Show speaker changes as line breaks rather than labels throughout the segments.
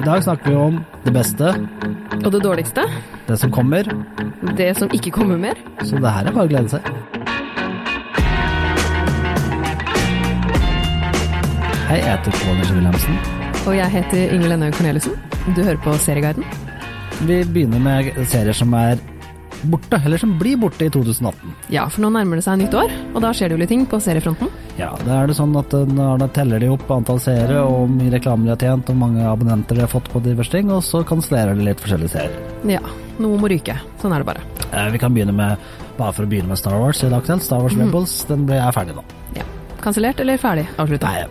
I dag snakker vi om det beste,
Og det dårligste?
det som kommer,
Det som ikke kommer mer?
så det her er bare å glede seg. Hei, jeg heter Pål Nisje Wilhelmsen.
Og jeg heter Ingvild Ennøy Corneliussen. Du hører på Serieguiden.
Vi begynner med serier som er borte, eller som blir borte i 2018.
Ja, for nå nærmer det seg nytt år, og da skjer det jo litt ting på seriefronten.
Ja, da er det sånn at eh, når da teller de opp antall seere, og hvor mye reklamer de har tjent, og hvor mange abonnenter de har fått på diverse ting, og så kansellerer de litt forskjellige serier.
Ja, noe må ryke. Sånn er det bare.
Eh, Vi kan begynne med, bare for å begynne med Star Wars i dag kveld. Star Wars Rebels, den ble, er ferdig nå.
Ja. Kansellert eller ferdig avslutta?
Nei,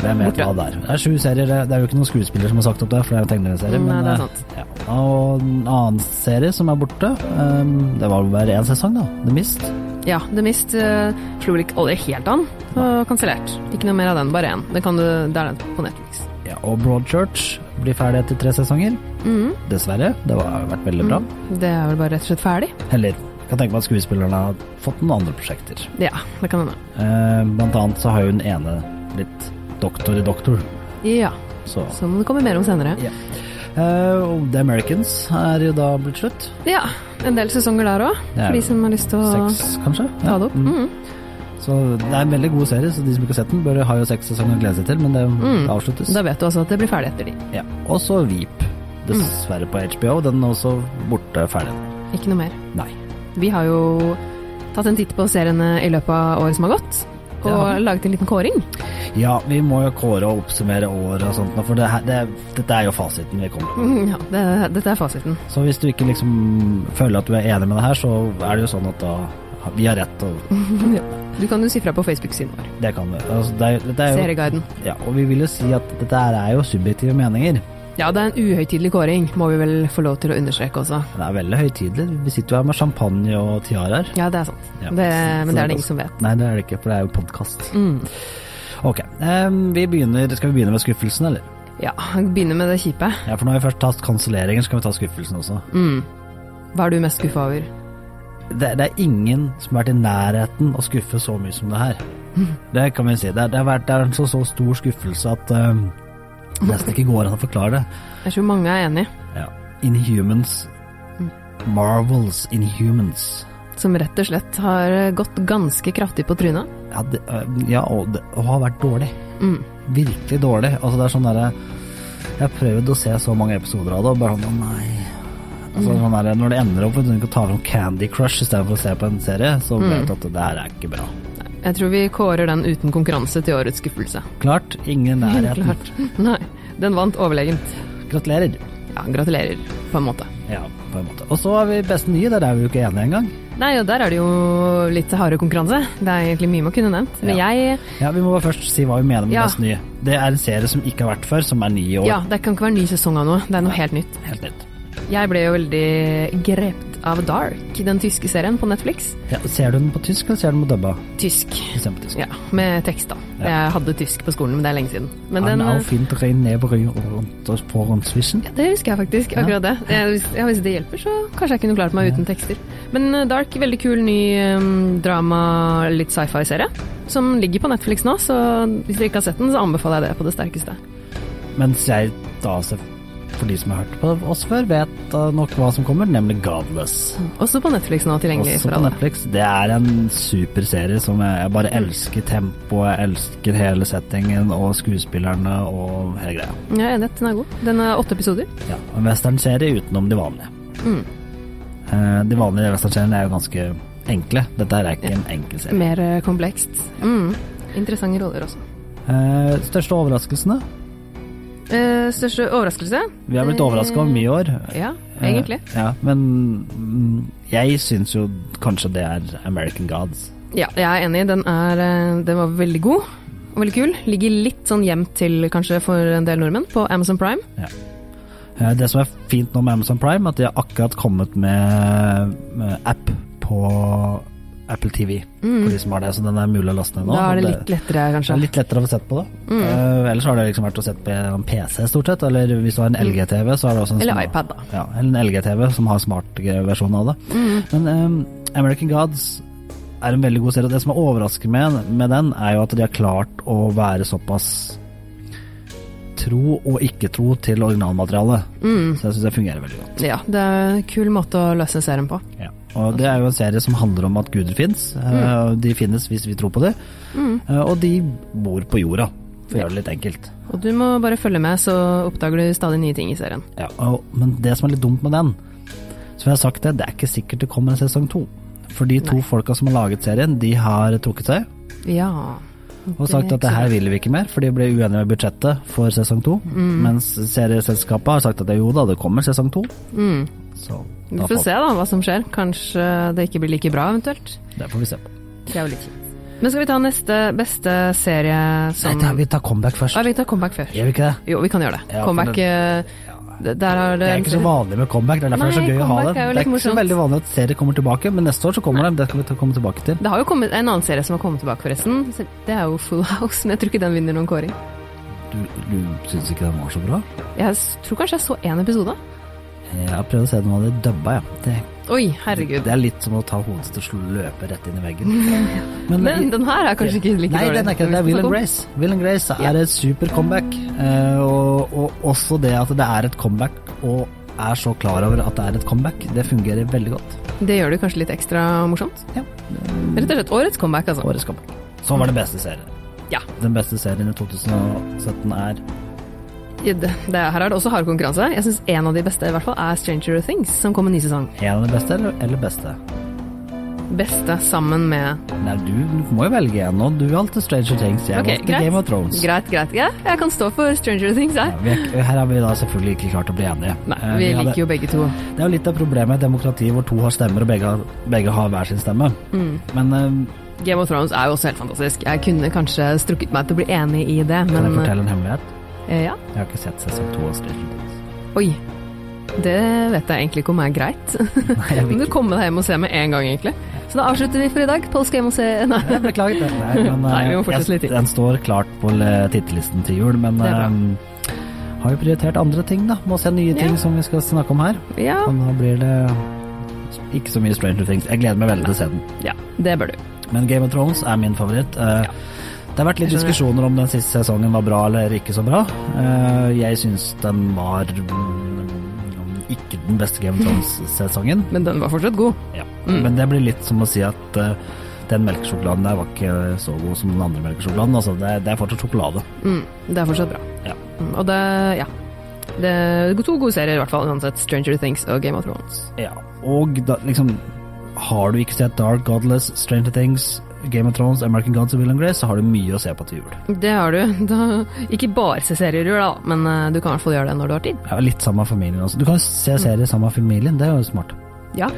hvem vet
Borte.
hva det er. Det er sju serier, det- det er jo ikke noen skuespiller som har sagt opp det, for det er en tegneserie.
Mm, nei, det er
eh,
sant.
Ja. Og en annen serie som er borte, ehm, det var vel bare én sesong da, The Mist.
Ja, The Mist eh, slo vel ikke aldri helt an, og kansellert. Ikke noe mer av den, bare én. Den kan du, det er den på Netflix.
Ja, og Broadchurch blir ferdig etter tre sesonger.
Mhm.
Dessverre, det var- har vært veldig bra.
Det er vel bare rett og slett ferdig?
Eller, kan tenke meg at skuespillerne har fått noen andre prosjekter.
Ja, det kan hende.
Eh, blant annet så har jo den ene blitt doktor i doktor,
Ja,
så...
så må det komme mer om senere.
Ja. Eh, og The Americans er jo da blitt slutt.
Ja, en del sesonger der òg,
Det er
for de som har lyst til å
Seks, kanskje?
ta det opp.
Mm.
Mhm.
Så det er en veldig god serie, så de som ikke har sett den, bør ha jo seks sesonger å glede seg til, men det avsluttes.
Da vet du altså at Mm. det blir ferdig etter de.
Ja. Og så Veep, dessverre på HBO. Den er også borte ferdig.
Ikke noe mer.
Nei.
Vi har jo tatt en titt på seriene i løpet av året som har gått, og
Det har vi.
laget en liten kåring.
Ja, vi må jo kåre og oppsummere året og sånt, nå, for det her, det, dette er jo fasiten vi kommer med.
Mm, Ja, det, dette er fasiten.
Så hvis du ikke liksom føler at du er enig med det her, så er det jo sånn at da har- vi har rett, og
Du kan jo si fra på Facebook-siden vår.
det kan vi. Altså, det er, dette er jo,
Serieguiden.
ja, og vi vil jo si at dette her er jo subjektive meninger.
Ja, det er en uhøytidelig kåring, må vi vel få lov til å understreke også.
Det er veldig høytidelig. Vi sitter jo her med champagne og tiaraer.
Ja, det er sant.
Ja.
Det, men det er
Så-
det ingen som vet. Mm.
Nei, det er det ikke, for det er jo podkast. Ok, em, vi begynner, skal vi begynne med skuffelsen, eller?
Ja, begynner med det kjipe. Mm.
Ja, For nå har vi først tatt kanselleringen, så kan vi ta skuffelsen også.
Hva er du mest skuffa over?
Det, det er ingen som har vært i nærheten å skuffe så mye som det her. Det kan vi si. Det, er- det har vært det er en så, så stor skuffelse at em, det nesten ikke går an å forklare det.
Jeg tror mange er enig,
Ja. Inhumans. Marvels Inhumans.
som rett og slett har gått ganske kraftig på trynet. Mm.
Ja, det, øh, ja og, det, og har vært dårlig. Virkelig dårlig. Altså, det er sånn derre Jeg har prøvd å se så mange episoder av det, og bare sånn «Å, nei. Altså,
Mm.
sånn derre, når det ender opp med at du kan ta fram Candy Crush istedenfor å se på en serie, så
Mm.
ble det at det her er ikke bra.
Jeg tror vi kårer den uten konkurranse til årets skuffelse.
Klart, ingen nærheten.
Klart. Nei, den vant overlegent.
Gratulerer.
Ja, gratulerer, på en måte.
Ja, på en måte. Og så har vi beste nye, der er vi jo ikke enige engang.
Nei, og der er det jo litt hardere konkurranse. Det er egentlig mye man kunne nevnt. Men
Ja.
jeg
Ja, vi må bare først si hva vi mener med
Ja.
beste nye. Det er en serie som ikke har vært før, som er ny i år.
Ja, det kan ikke være ny sesong av noe. Det er noe helt nytt.
Helt nytt.
Jeg ble jo veldig grept av Dark, den tyske serien på Netflix.
Ja, ser du den på tysk, eller ser du den på dubba?
Tysk.
Hvis den er på tysk.
Ja, med tekst, da. Jeg hadde tysk på skolen, men det er lenge siden. Men
Han
den eh,
er jo fint ren neberøy rundt oss på rundspissen.
Det husker jeg faktisk, akkurat det. Jeg, hvis- ja, hvis det hjelper, så kanskje jeg kunne klart meg uten tekster. Men eh, Dark, veldig kul ny eh, drama, litt sci-fi-serie, som ligger på Netflix nå, så hvis dere ikke har sett den, så anbefaler jeg det på det sterkeste.
Mens jeg da, se- for de som har hørt på oss før, vet eh, nok hva som kommer, nemlig Godless.
Også på Netflix nå, tilgjengelig
Også
for
på
alle.
Netflix. Det er en super serie som jeg, jeg bare elsker tempoet, jeg elsker hele settingen og skuespillerne og hele greia.
Jeg er enig, den er god. Den er åtte episoder.
Ja, en westernserie utenom de vanlige. Eh, De vanlige westernseriene er jo ganske enkle. Dette er ikke en enkel serie.
Mer eh, komplekst. Mm. Interessante roller også.
Eh, Største overraskelsene?
Eh, største overraskelse?
Vi har blitt overraska over mye i år.
Ja, egentlig.
Eh, Ja, men mm, jeg syns jo kanskje det er American Gods.
Ja, jeg er enig. Den, er, eh, den var veldig god og veldig kul. Ligger litt sånn gjemt til, kanskje, for en del nordmenn på Amazon Prime.
Eh, Det som er fint nå med Amazon Prime, at de har akkurat kommet med, med app på Apple TV.
Mm.
For de som har det, så den er mulig å laste ned nå.
Da er det
og
litt lettere,
det
kanskje. Mm.
er litt lettere å få sett på det. Eh, ellers har det liksom vært å sett på en PC stort sett, eller hvis du har en LG-TV, så har du også en
Mm. Eller
smart-
iPad, da.
Ja, eller en LG-TV som har smartversjon av det.
Mm,
Men eh, American Gods er en veldig god serie. og Det som er overraskende med, med den, er jo at de har klart å være såpass tro og ikke-tro til originalmaterialet. Så jeg syns det fungerer veldig godt.
mm. Ja, det er en kul måte å løse serien på.
Ja. Og det er jo en serie som handler om at guder fins. De finnes hvis vi tror på det.
Mm.
Eh, Og de bor på jorda, for å gjøre det litt enkelt.
Og du må bare følge med, så oppdager du stadig nye ting i serien.
Ja, og, men det som er litt dumt med den, som jeg har sagt det, det er ikke sikkert det kommer en sesong to. For de to folka som har laget serien, de har trukket seg
Ja.
og sagt at det her vil vi ikke mer, for de ble uenige med budsjettet for sesong to. Mens serieselskapet har sagt at jo da, det kommer sesong to. Så
Mm. Vi
da
får
får,
se da hva som skjer. Kanskje det ikke blir like bra eventuelt.
det får vi se på.
Det er jo litt kjipt. Men skal vi ta neste beste serie
Nei,
som
da, vi tar comeback først.
Ja, vi tar comeback først.
Gjør vi ikke det?
Jo, vi kan gjøre det.
Ja, for
comeback
det-
eh, d- Der har
Det er ikke så vanlig med comeback, det er derfor det er
Nei,
så gøy å ha det.
comeback er jo
Det
litt
er ikke så
morsomt.
veldig vanlig at serier kommer tilbake, men neste år så kommer de. Det skal vi ta- komme tilbake til.
Det har jo kommet en annen serie som har kommet tilbake, forresten. Så Det er jo Full House, men jeg tror ikke den vinner noen kåring.
Du, du syns ikke den var så bra?
Jeg s- tror kanskje jeg så én episode.
Jeg har prøvd å se den og det dubba, ja. Det,
Oi, herregud.
det er litt som å ta hodet til å løpe rett inn i veggen. Men,
Men den her er kanskje ikke like
Nei,
dårlig.
den er ikke det. Det er Will and Grace. Will and Grace er et super comeback. eh, Og, og også det at det er et comeback, og er så klar over at det er et comeback, det fungerer veldig godt.
Det gjør det kanskje litt ekstra morsomt.
Ja.
Rett og slett årets comeback, altså.
Årets comeback. Så Sånn var det beste serien.
Ja.
Den beste serien i 2017 er
Det, det, her er det også hard konkurranse. Jeg syns en av de beste i hvert fall er Stranger Things, som kom en ny sesong.
en av de beste, eller, eller beste?
Beste sammen med
Nei, du, du må jo velge en, og du valgte Stranger Things. Jeg
Ok,
valgte
greit.
Game of Thrones.
Greit, greit. Ja, jeg kan stå for Stranger Things her.
Ja, vi er, ikke- her har vi da selvfølgelig ikke klart å bli enige.
Nei,
Eh,
vi
hadde-
liker jo begge to.
Det er jo litt av problemet med demokrati hvor to har stemmer og begge, har- begge har hver sin stemme.
Mm.
Men eh,
Game of Thrones er jo også helt fantastisk. Jeg kunne kanskje strukket meg til å bli enig i det,
kan jeg
men
fortelle en hemmelighet?
eh, ja.
Jeg har ikke sett sesong to av Stranger Things.
Oi. Det vet jeg egentlig ikke om er greit.
Nei, jeg
Kan
vil
du
ikke.
komme deg hjem og se med en gang, egentlig? Så da avslutter vi for i dag. Pål skal hjem og se Nei.
Jeg beklager det. Nei, men, eh,
Nei, vi må fortsette
jeg-
litt til.
Den står klart på le- tittelisten til jul, men
Det er bra.
eh, har jo prioritert andre ting, da. Må se nye ting
Ja.
som vi skal snakke om her.
Ja,
Og nå blir det ikke så mye Stranger Things. Jeg gleder meg veldig til å se den.
ja, det bør du.
Men Game of Thrones er min favoritt. Eh, Det har vært litt
Jeg skjønner.
diskusjoner om den siste sesongen var bra eller ikke så bra. Eh, Jeg syns den var mm, ikke den beste Game of Thrones-sesongen.
Men den var fortsatt god.
Ja. Men det blir litt som å si at eh, den melkesjokoladen der var ikke så god som den andre melkesjokoladen. Altså, det, er- det er fortsatt sjokolade.
Mm, det er fortsatt bra.
Ja.
Mm, og det ja. Det er to gode serier, i hvert fall. Uansett Stranger Things og Game of Thrones.
Ja. Og da, liksom Har du ikke sett Dark Godless, Stranger Things, Game of Thrones, American Gods og Will and Grace, så har du mye å se på til jul.
Det har du. Da, ikke bare se serier i jul, da, men eh, du kan i hvert fall gjøre det når du har tid.
Ja, litt sammen med familien også. Du kan jo se serier sammen med familien, det er jo smart.
Ja.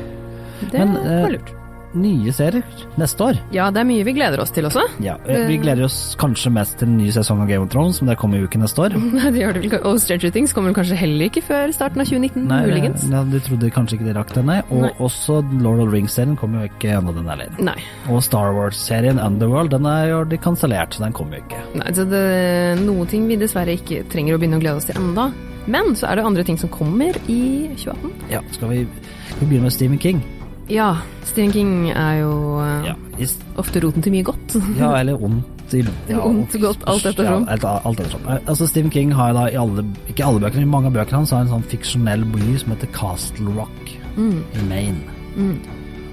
Det
Men, eh,
var lurt.
Nye serier neste år.
Ja, det er mye vi gleder oss til også.
Ja, eh, Vi gleder oss kanskje mest til den nye sesongen av Game of Thrones, men det kommer jo ikke neste år.
Det gjør det vel, og Stranger Things kommer vel kanskje heller ikke før starten av 2019,
Nei,
muligens.
ja, De trodde kanskje ikke de rakk den, nei. Og
Nei.
også Lord of the Rings-serien kommer jo ikke ennå, den heller.
Nei.
Og Star Wars-serien Underworld, den er jo de kansellert, så den kommer jo ikke.
Nei, så det er noen ting vi dessverre ikke trenger å begynne å glede oss til enda. Men så er det andre ting som kommer i 2018.
Ja, Skal vi, skal vi begynne med Stephen King?
Ja, Stephen King er jo eh,
I s-
ofte roten til mye godt.
Ja, eller ondt i ja,
Ondt, godt, alt sånn. ettersom.
Ja, alt, alt ettersom. Eh, Altså, Stephen King har da i alle, ikke alle bøkene, men mange av bøkene hans har en sånn fiksjonell by som heter Castle Rock
Mm.
i Maine.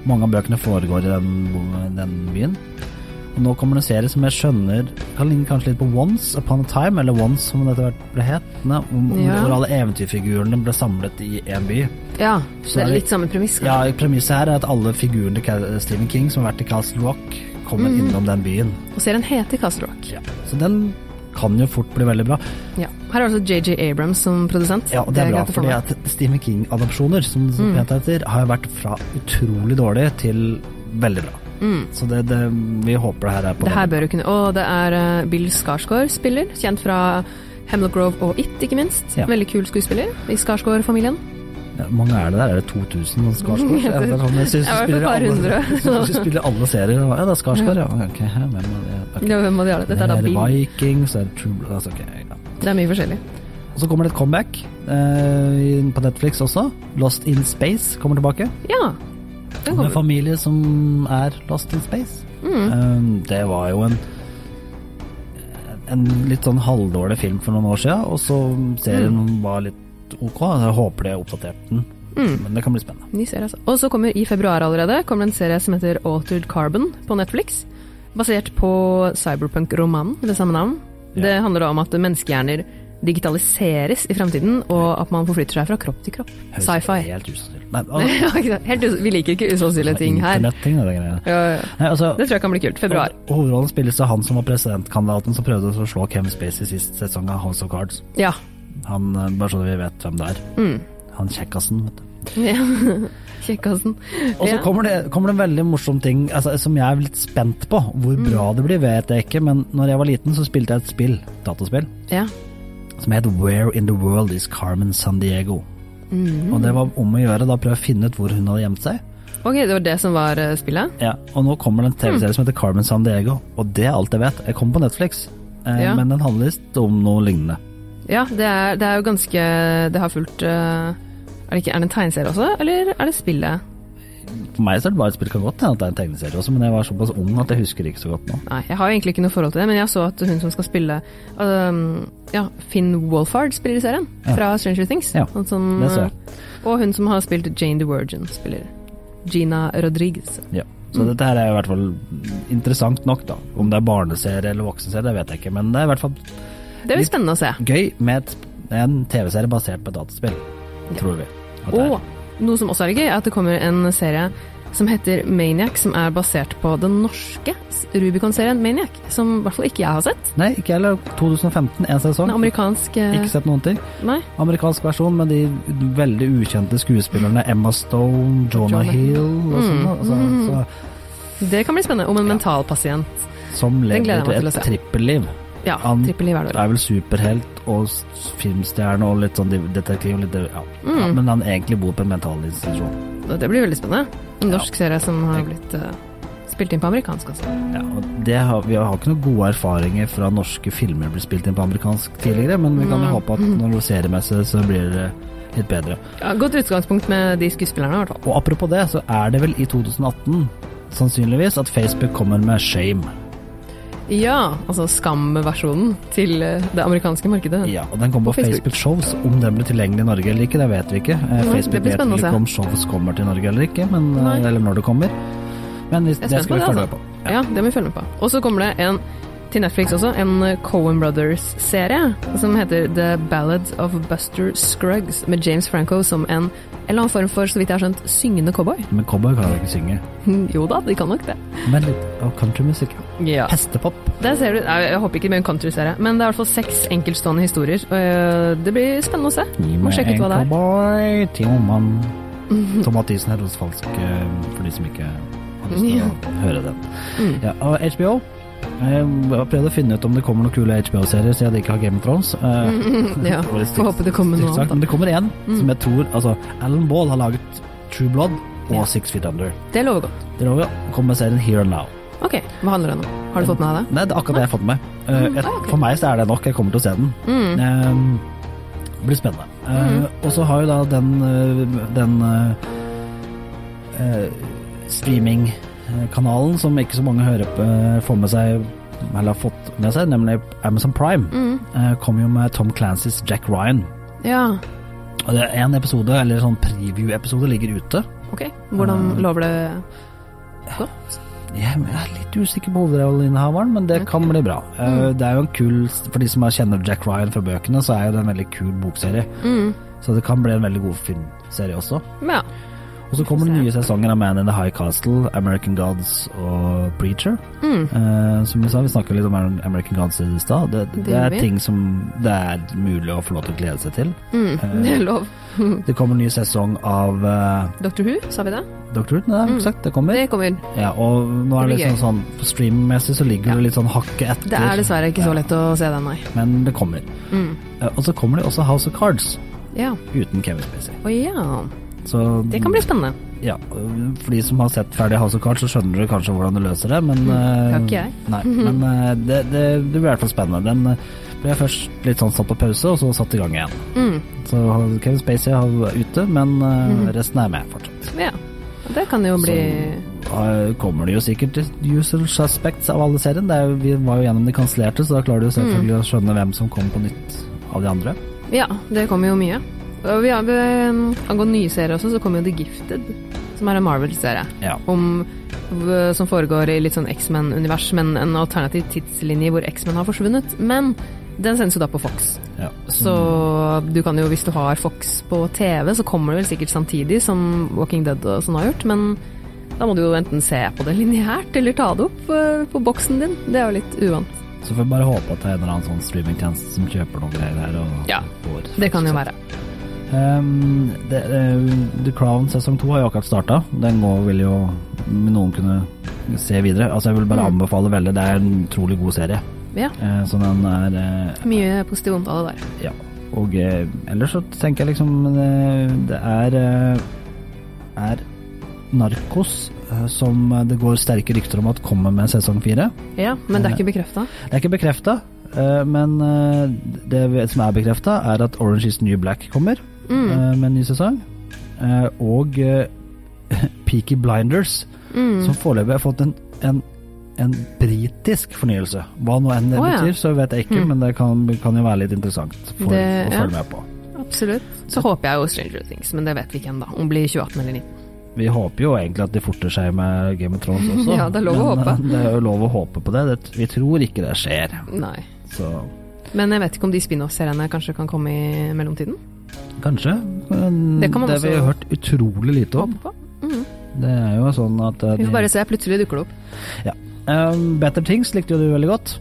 Mange av bøkene foregår i den, bo- den byen. Og nå kommer det en serie som jeg skjønner kan ligne kanskje litt på Once Upon a Time, eller Once som den etter hvert ble het, ne, om, om-
Ja.
hvor alle eventyrfigurene ble samlet i én by.
Ja,
Så er
det er
vi-
litt samme premiss.
Ja, Premisset her er at alle figurene til Ca- Stephen King som har vært i Castle Rock, kommer
Mm.
innom den byen.
Og serien heter Castle Rock.
Ja. Så den kan jo fort bli veldig bra.
Ja. Her er altså JJ Abrams som produsent.
Ja, og det er bra,
greit å få
fordi
med. Mm.
at Stephen King-adopsjoner, som det så pent heter, har jo vært fra utrolig dårlig til veldig bra. Så det, det, vi håper det her er på
Mm. Det her
den.
bør du kunne Og det er eh, Bill Skarsgård spiller, kjent fra Hemlock Grove og It, ikke minst.
Ja.
Veldig kul skuespiller i Skarsgård-familien.
Ja, hvor mange er det der? Er det 2000 og Skarsgård?
Jeg
Ja, det er sånn, jeg synes
Jeg
de
har
spiller
vært på et par
alle-
hundre.
synes de spiller alle serier. og, Ja, det er Skarsgård, ja. Ok, ja, hvem er det? Ok.
Ja, hvem av de er det? Dette er da
Det er
Bill.
Vikings, det er True Blood, altså, ok, ja.
Det er mye forskjellig.
Og så kommer det et comeback eh, på Netflix også. Lost in Space kommer tilbake.
Ja. Den
Med
kommer. Mm,
familie Ehm, som er lost in space. Um, det var jo en en litt sånn halvdårlig film for noen år siden, og så serien
Mm.
var litt ok. Jeg håper de har oppdatert den, men det kan bli spennende.
Ny serie, altså. Og så kommer i februar allerede kommer en serie som heter Altered Carbon på Netflix. Basert på cyberpunk-romanen ved samme navn.
Ja.
Det handler da om at menneskehjerner digitaliseres i fremtiden, og at man forflytter seg fra kropp til kropp.
Høres
Sci-fi.
Helt usannsynlig. Nei, altså, å,
Ja, ikke sant? Helt us- Vi liker ikke usannsynlige ting her.
Internetting og de greiene.
Ja, ja.
Nei, altså,
Det tror jeg kan bli kult. Februar.
ho- hovedrollen spilles av han som var presidentkandidaten som prøvde å slå Kevin Spacey sist sesong av House of Cards.
Ja. Mm.
Han, eh, Bare så vi vet hvem det er. Han kjekkasen, vet du.
Kjekkasen.
Og så
Ja.
kommer, det- kommer det en veldig morsom ting altså, som jeg er litt spent på. Hvor
Mm.
bra det blir, vet jeg ikke, men når jeg var liten, så spilte jeg et spill, dataspill,
Ja.
som het Where in the World is Carmen San Diego.
Mm.
Og det var om å gjøre da prøve å finne ut hvor hun hadde gjemt seg.
Ok, det var det som var eh, spillet?
Ja, og nå kommer
Mm.
det en TV-serie som heter Carmen San Diego, og det er alt jeg vet. Jeg kom på Netflix, eh,
Ja.
men den handler visst om noe lignende.
Ja, det er, det er jo ganske Det har fulgt eh, er det, ikke, er det en tegneserie også, eller er det spillet?
For meg så er det bare et spill, kan godt hende at det er en tegneserie også, men jeg var såpass ung at jeg husker ikke så godt nå.
Nei, jeg har jo egentlig ikke noe forhold til det, men jeg så at hun som skal spille øhm, ja, Finn Wolfhard spiller i serien,
Ja.
fra Stranger Things.
Ja,
Han som, eh,
det så jeg.
Og hun som har spilt Jane the Virgin, spiller Gina Rodriguez.
Ja.
Mm.
Så dette her er i hvert fall interessant nok, da. Om det er barneserie eller voksenserie, det vet jeg ikke, men det er i hvert fall
Det blir
Litt-
spennende å se.
gøy med et, en TV-serie basert på et dataspill, tror vi. at det er.
Og noe som også er gøy, er at det kommer en serie som heter Maniac, som er basert på den norske Rubicon-serien Maniac, som i hvert fall ikke jeg har sett.
Nei, ikke heller. 2015, én sesong.
Den amerikanske
Ikke sett noen ting.
Nei.
Amerikansk versjon med de veldig ukjente skuespillerne Emma Stone, Jonah
Jonah Mm.
Hill og sånn. Altså, så,
Det kan bli spennende, om en mentalpasient.
som
Mm. Den gleder jeg
lever
meg til å
et
se.
trippelliv.
Ja,
Han-
trippel i
Det
hverdagen.
er vel superhelt og s- filmstjerne og litt sånn de- detektiv og litt ja. ja. Men han egentlig bor på en mentalinstitusjon.
Mm. Det blir veldig spennende. En norsk serie som har blitt eh, spilt inn på amerikansk altså. også.
Ja, og det har, vi har ikke noen gode erfaringer fra norske filmer blir spilt inn på amerikansk tidligere, men vi kan jo håpe at når det seriemessig så blir det litt bedre.
Ja, godt utgangspunkt med de skuespillerne, i hvert fall.
Og apropos det, så er det vel i 2018 sannsynligvis at Facebook kommer med Shame.
Ja, altså Skam-versjonen til eh, det amerikanske markedet.
Ja, og den kommer på
På Facebook.
Facebook Shows. Om den blir tilgjengelig i Norge eller ikke, det vet vi ikke. Eh,
det
Facebook
blir
vet vel
spennende å se.
ikke om shows kommer til Norge eller ikke, men, eh,
Nei.
eller når det kommer. Men hvis,
Jeg er
det
spent
skal vi
på det,
følge med
altså.
på.
Ja, det må vi følge med på. Og så kommer det en til Netflix også, en eh, Cohen Brothers-serie som heter The Ballad of Buster Scruggs, med James Franco som en eller annen form for, så vidt jeg har skjønt, syngende cowboy.
Men cowboy kan jo ikke synge.
Jo da, de kan nok det.
Men litt av countrymusikk.
Ja.
Hestepop.
Der ser du, Nei, jeg håper ikke det blir en countryserie, men det er i hvert fall seks enkeltstående historier. og, øh, Det blir spennende å se.
Gi
Må
meg
sjekke ut
en
hva det er.
cowboy, Tioman. Tom Mathisen er falsk eh, for de som ikke har lyst til å høre den. Ja, og HBO. eh, Jeg har prøvd å finne ut om det kommer noen kule HBO-serier, siden jeg ikke har Game of Thrones. Eh,
Mm. Ja,
det var litt
Får håpe det kommer noe
stygt sagt,
annet. Mm.
Men det kommer en som jeg tror Altså, Alan Ball har laget True Blood og
Ja.
Six Feet Under.
da. Det lover godt.
Det lover jeg. Kommer med serien Here and Now.
Ok, hva handler det om? Har du fått med deg det?
Nei, det er akkurat det jeg har fått med. meg. Eh, jeg,
ah, ok.
For meg så er det nok, jeg kommer til å se den.
Mm.
Eh, det blir spennende. Eh, Og så har jo da den, eh, den eh, eh, streamingkanalen som ikke så mange hører på, eh, får med seg eller har fått med seg, nemlig Amazon Prime,
Mm.
eh, kom jo med Tom Clancys Jack Ryan.
Ja,
Og det er en episode, eller sånn preview-episode, ligger ute.
ok. Hvordan lover det godt?
Jeg er litt usikker på hovedrolleinnehaveren, men det kan bli bra. Eh, Det er jo en kul, For de som er- kjenner Jack Ryan fra bøkene, så er jo det en veldig kul bokserie.
Mm.
Så det kan bli en veldig god filmserie også.
Ja.
Og så kommer det nye sesonger av Man in the High Castle, American Gods og Preacher.
Mm.
Eh, som vi sa, vi snakket litt om American Gods i stad. Det, det,
Det gjør
er
vi.
ting som det er mulig å få lov til å glede seg til.
Mm. Det er lov.
Det kommer en ny sesong av eh,
Dr. Who, sa vi det?
Doctor Who, nei, det har vi ikke sagt, det kommer.
Mm. Det kommer.
Ja, og nå er det
Det blir
liksom sånn på streammessig så ligger du litt sånn hakket etter.
Det er dessverre ikke
Ja,
så lett å se den, nei. Mm.
Men det kommer. Eh, Og så kommer det også House of Cards
Ja.
uten Kevin Spacey.
Å ja.
Så
Det kan bli spennende.
ja, øh, for de som har sett ferdig House of Cards, så skjønner du kanskje hvordan du løser det, men Det
Mm, har ikke jeg.
Nei, men eh, det, det, det blir i hvert fall spennende. Den eh, ble først litt sånn satt på pause, og så satt i gang igjen.
Mm.
Så Kevin Spacey er ute, men eh, resten er med fortsatt.
Ja. Det kan jo bli
eh, kommer det jo sikkert til usual suspects av alle serien. Det er, jo- vi var jo gjennom de kansellerte, så da klarer du jo selvfølgelig
Mm.
å skjønne hvem som kom på nytt av de andre.
Ja, det kommer jo mye. Og vi har, um, angående nye serier også, så kommer jo The Gifted, som er en Marvel-serie.
Ja.
Om- v- Som foregår i litt sånn X-Men-univers, men en alternativ tidslinje hvor X-Men har forsvunnet. Men den sendes jo da på Fox.
ja.
Så du kan jo, hvis du har Fox på TV, så kommer det vel sikkert samtidig som Walking Dead og sånn har gjort, men da må du jo enten se på det lineært, eller ta det opp eh, på boksen din. Det er jo litt uvant.
Så får vi bare håpe at det er en eller annen sånn streamingtjeneste som kjøper noen greier her. Og
Ja,
får,
Det kan jo være.
Ehm, det, eh, The Crown sesong to har jo akkurat starta. Den går, vil jo noen kunne se videre. Altså Jeg vil bare anbefale veldig. Det er en utrolig god serie.
Ja,
Eh, så den er eh,
mye positiv omtale der.
Ja. Og eh, ellers så tenker jeg liksom eh, Det er eh, er Narkos eh, som det går sterke rykter om at kommer med sesong fire.
Ja, men det er ikke bekrefta.
Det er ikke bekrefta, men eh, det vi- som er bekrefta, er at Orange is the New Black kommer
Mm.
eh, med en ny sesong. Eh, Og eh, Peaky Blinders,
Mm,
som foreløpig har fått en, en, en britisk fornyelse. Hva nå enn det
Å, ja. Mm.
betyr, så vet jeg ikke, men det kan, kan jo være litt interessant for
Det-
å
ja.
følge med på.
Absolutt. Så håper jeg jo Stranger Things, men det vet vi ikke ennå. Om det blir 2018 eller 2019.
Vi håper jo egentlig at de forter seg med Game of Thrones også.
Ja, det er lov å
men, eh,
håpe.
Det er jo lov å håpe på det. det. Vi tror ikke det skjer.
Nei.
Så
Men jeg vet ikke om de spin-off-seriene kanskje kan komme i mellomtiden.
kanskje. Men
Det kan man
det vi
også-
har hørt utrolig lite om.
Håper på. Mm.
Det er jo sånn at eh,
Vi
de-
får bare se. Plutselig dukker det opp.
ja. Um, Better Things likte jo du veldig godt.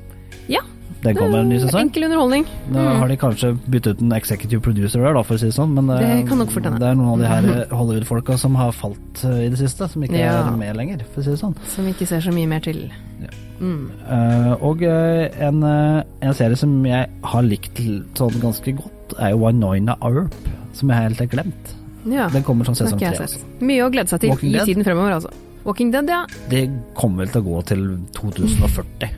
Ja.
Den kommer en ny sesong.
Enkel underholdning.
Da
Mm.
har de kanskje byttet ut en executive producer her, da, for å si det sånn. Men eh,
Det kan nok fort hende. Mm.
det er noen av de her eh, Hollywood-folka som har falt eh, i det siste, som ikke
Ja.
er med lenger, for å si det sånn.
Som vi ikke ser så mye mer til. Mm.
Eh, og eh, en, eh, en serie som jeg har likt l- sånn ganske godt, er jo Winoina Earp, som jeg helt har glemt.
Ja.
Den kommer som
Ah, har
sesong
ikke
tre.
jeg
altså.
sett. Mye å glede seg til
Walking
i
Dead?
tiden fremover, altså. Walking Dead, ja.
altså. Det kommer vel til å gå til 2040.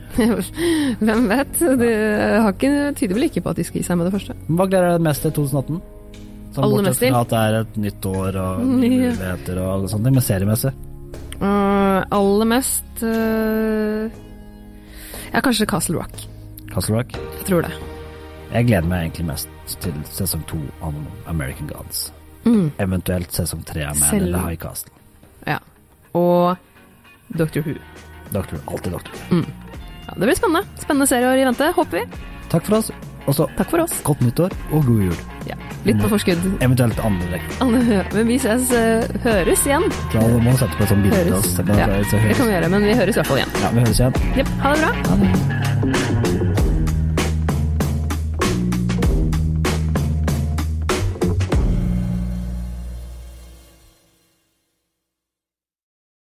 Hvem vet? Det har ikke, tyder vel ikke på at de skal gi seg med det første.
Hva gleder deg mest til 2018? Sånn
Aller mest
bortsett
til?
fra at det er et nytt år og nye
Ja.
muligheter og sånne ting, men seriemessig.
Uh, aller mest øh, Ja, kanskje Castle Rock.
Castle Rock.
Jeg tror det.
Jeg gleder meg egentlig mest til sesong to av American Gods.
Mm.
Eventuelt sesong tre med
Selv-
Lille High Castle.
Ja. Og Doctor Who.
Doctor, Who, alltid Doctor. Who.
Ja, det blir spennende. Spennende serier i vente, håper vi.
Takk for oss, og så
Takk for oss.
godt nyttår og god jul.
Ja, litt på forskudd.
Eventuelt andre rekker.
Anne, Men vi ses, eh, høres igjen.
Da må du sette på et sånt bilde.
Høres.
til oss.
Ja, det kan vi gjøre, men vi høres i hvert fall igjen.
Ja, vi høres igjen.
Jep, ha det bra.
Ha det.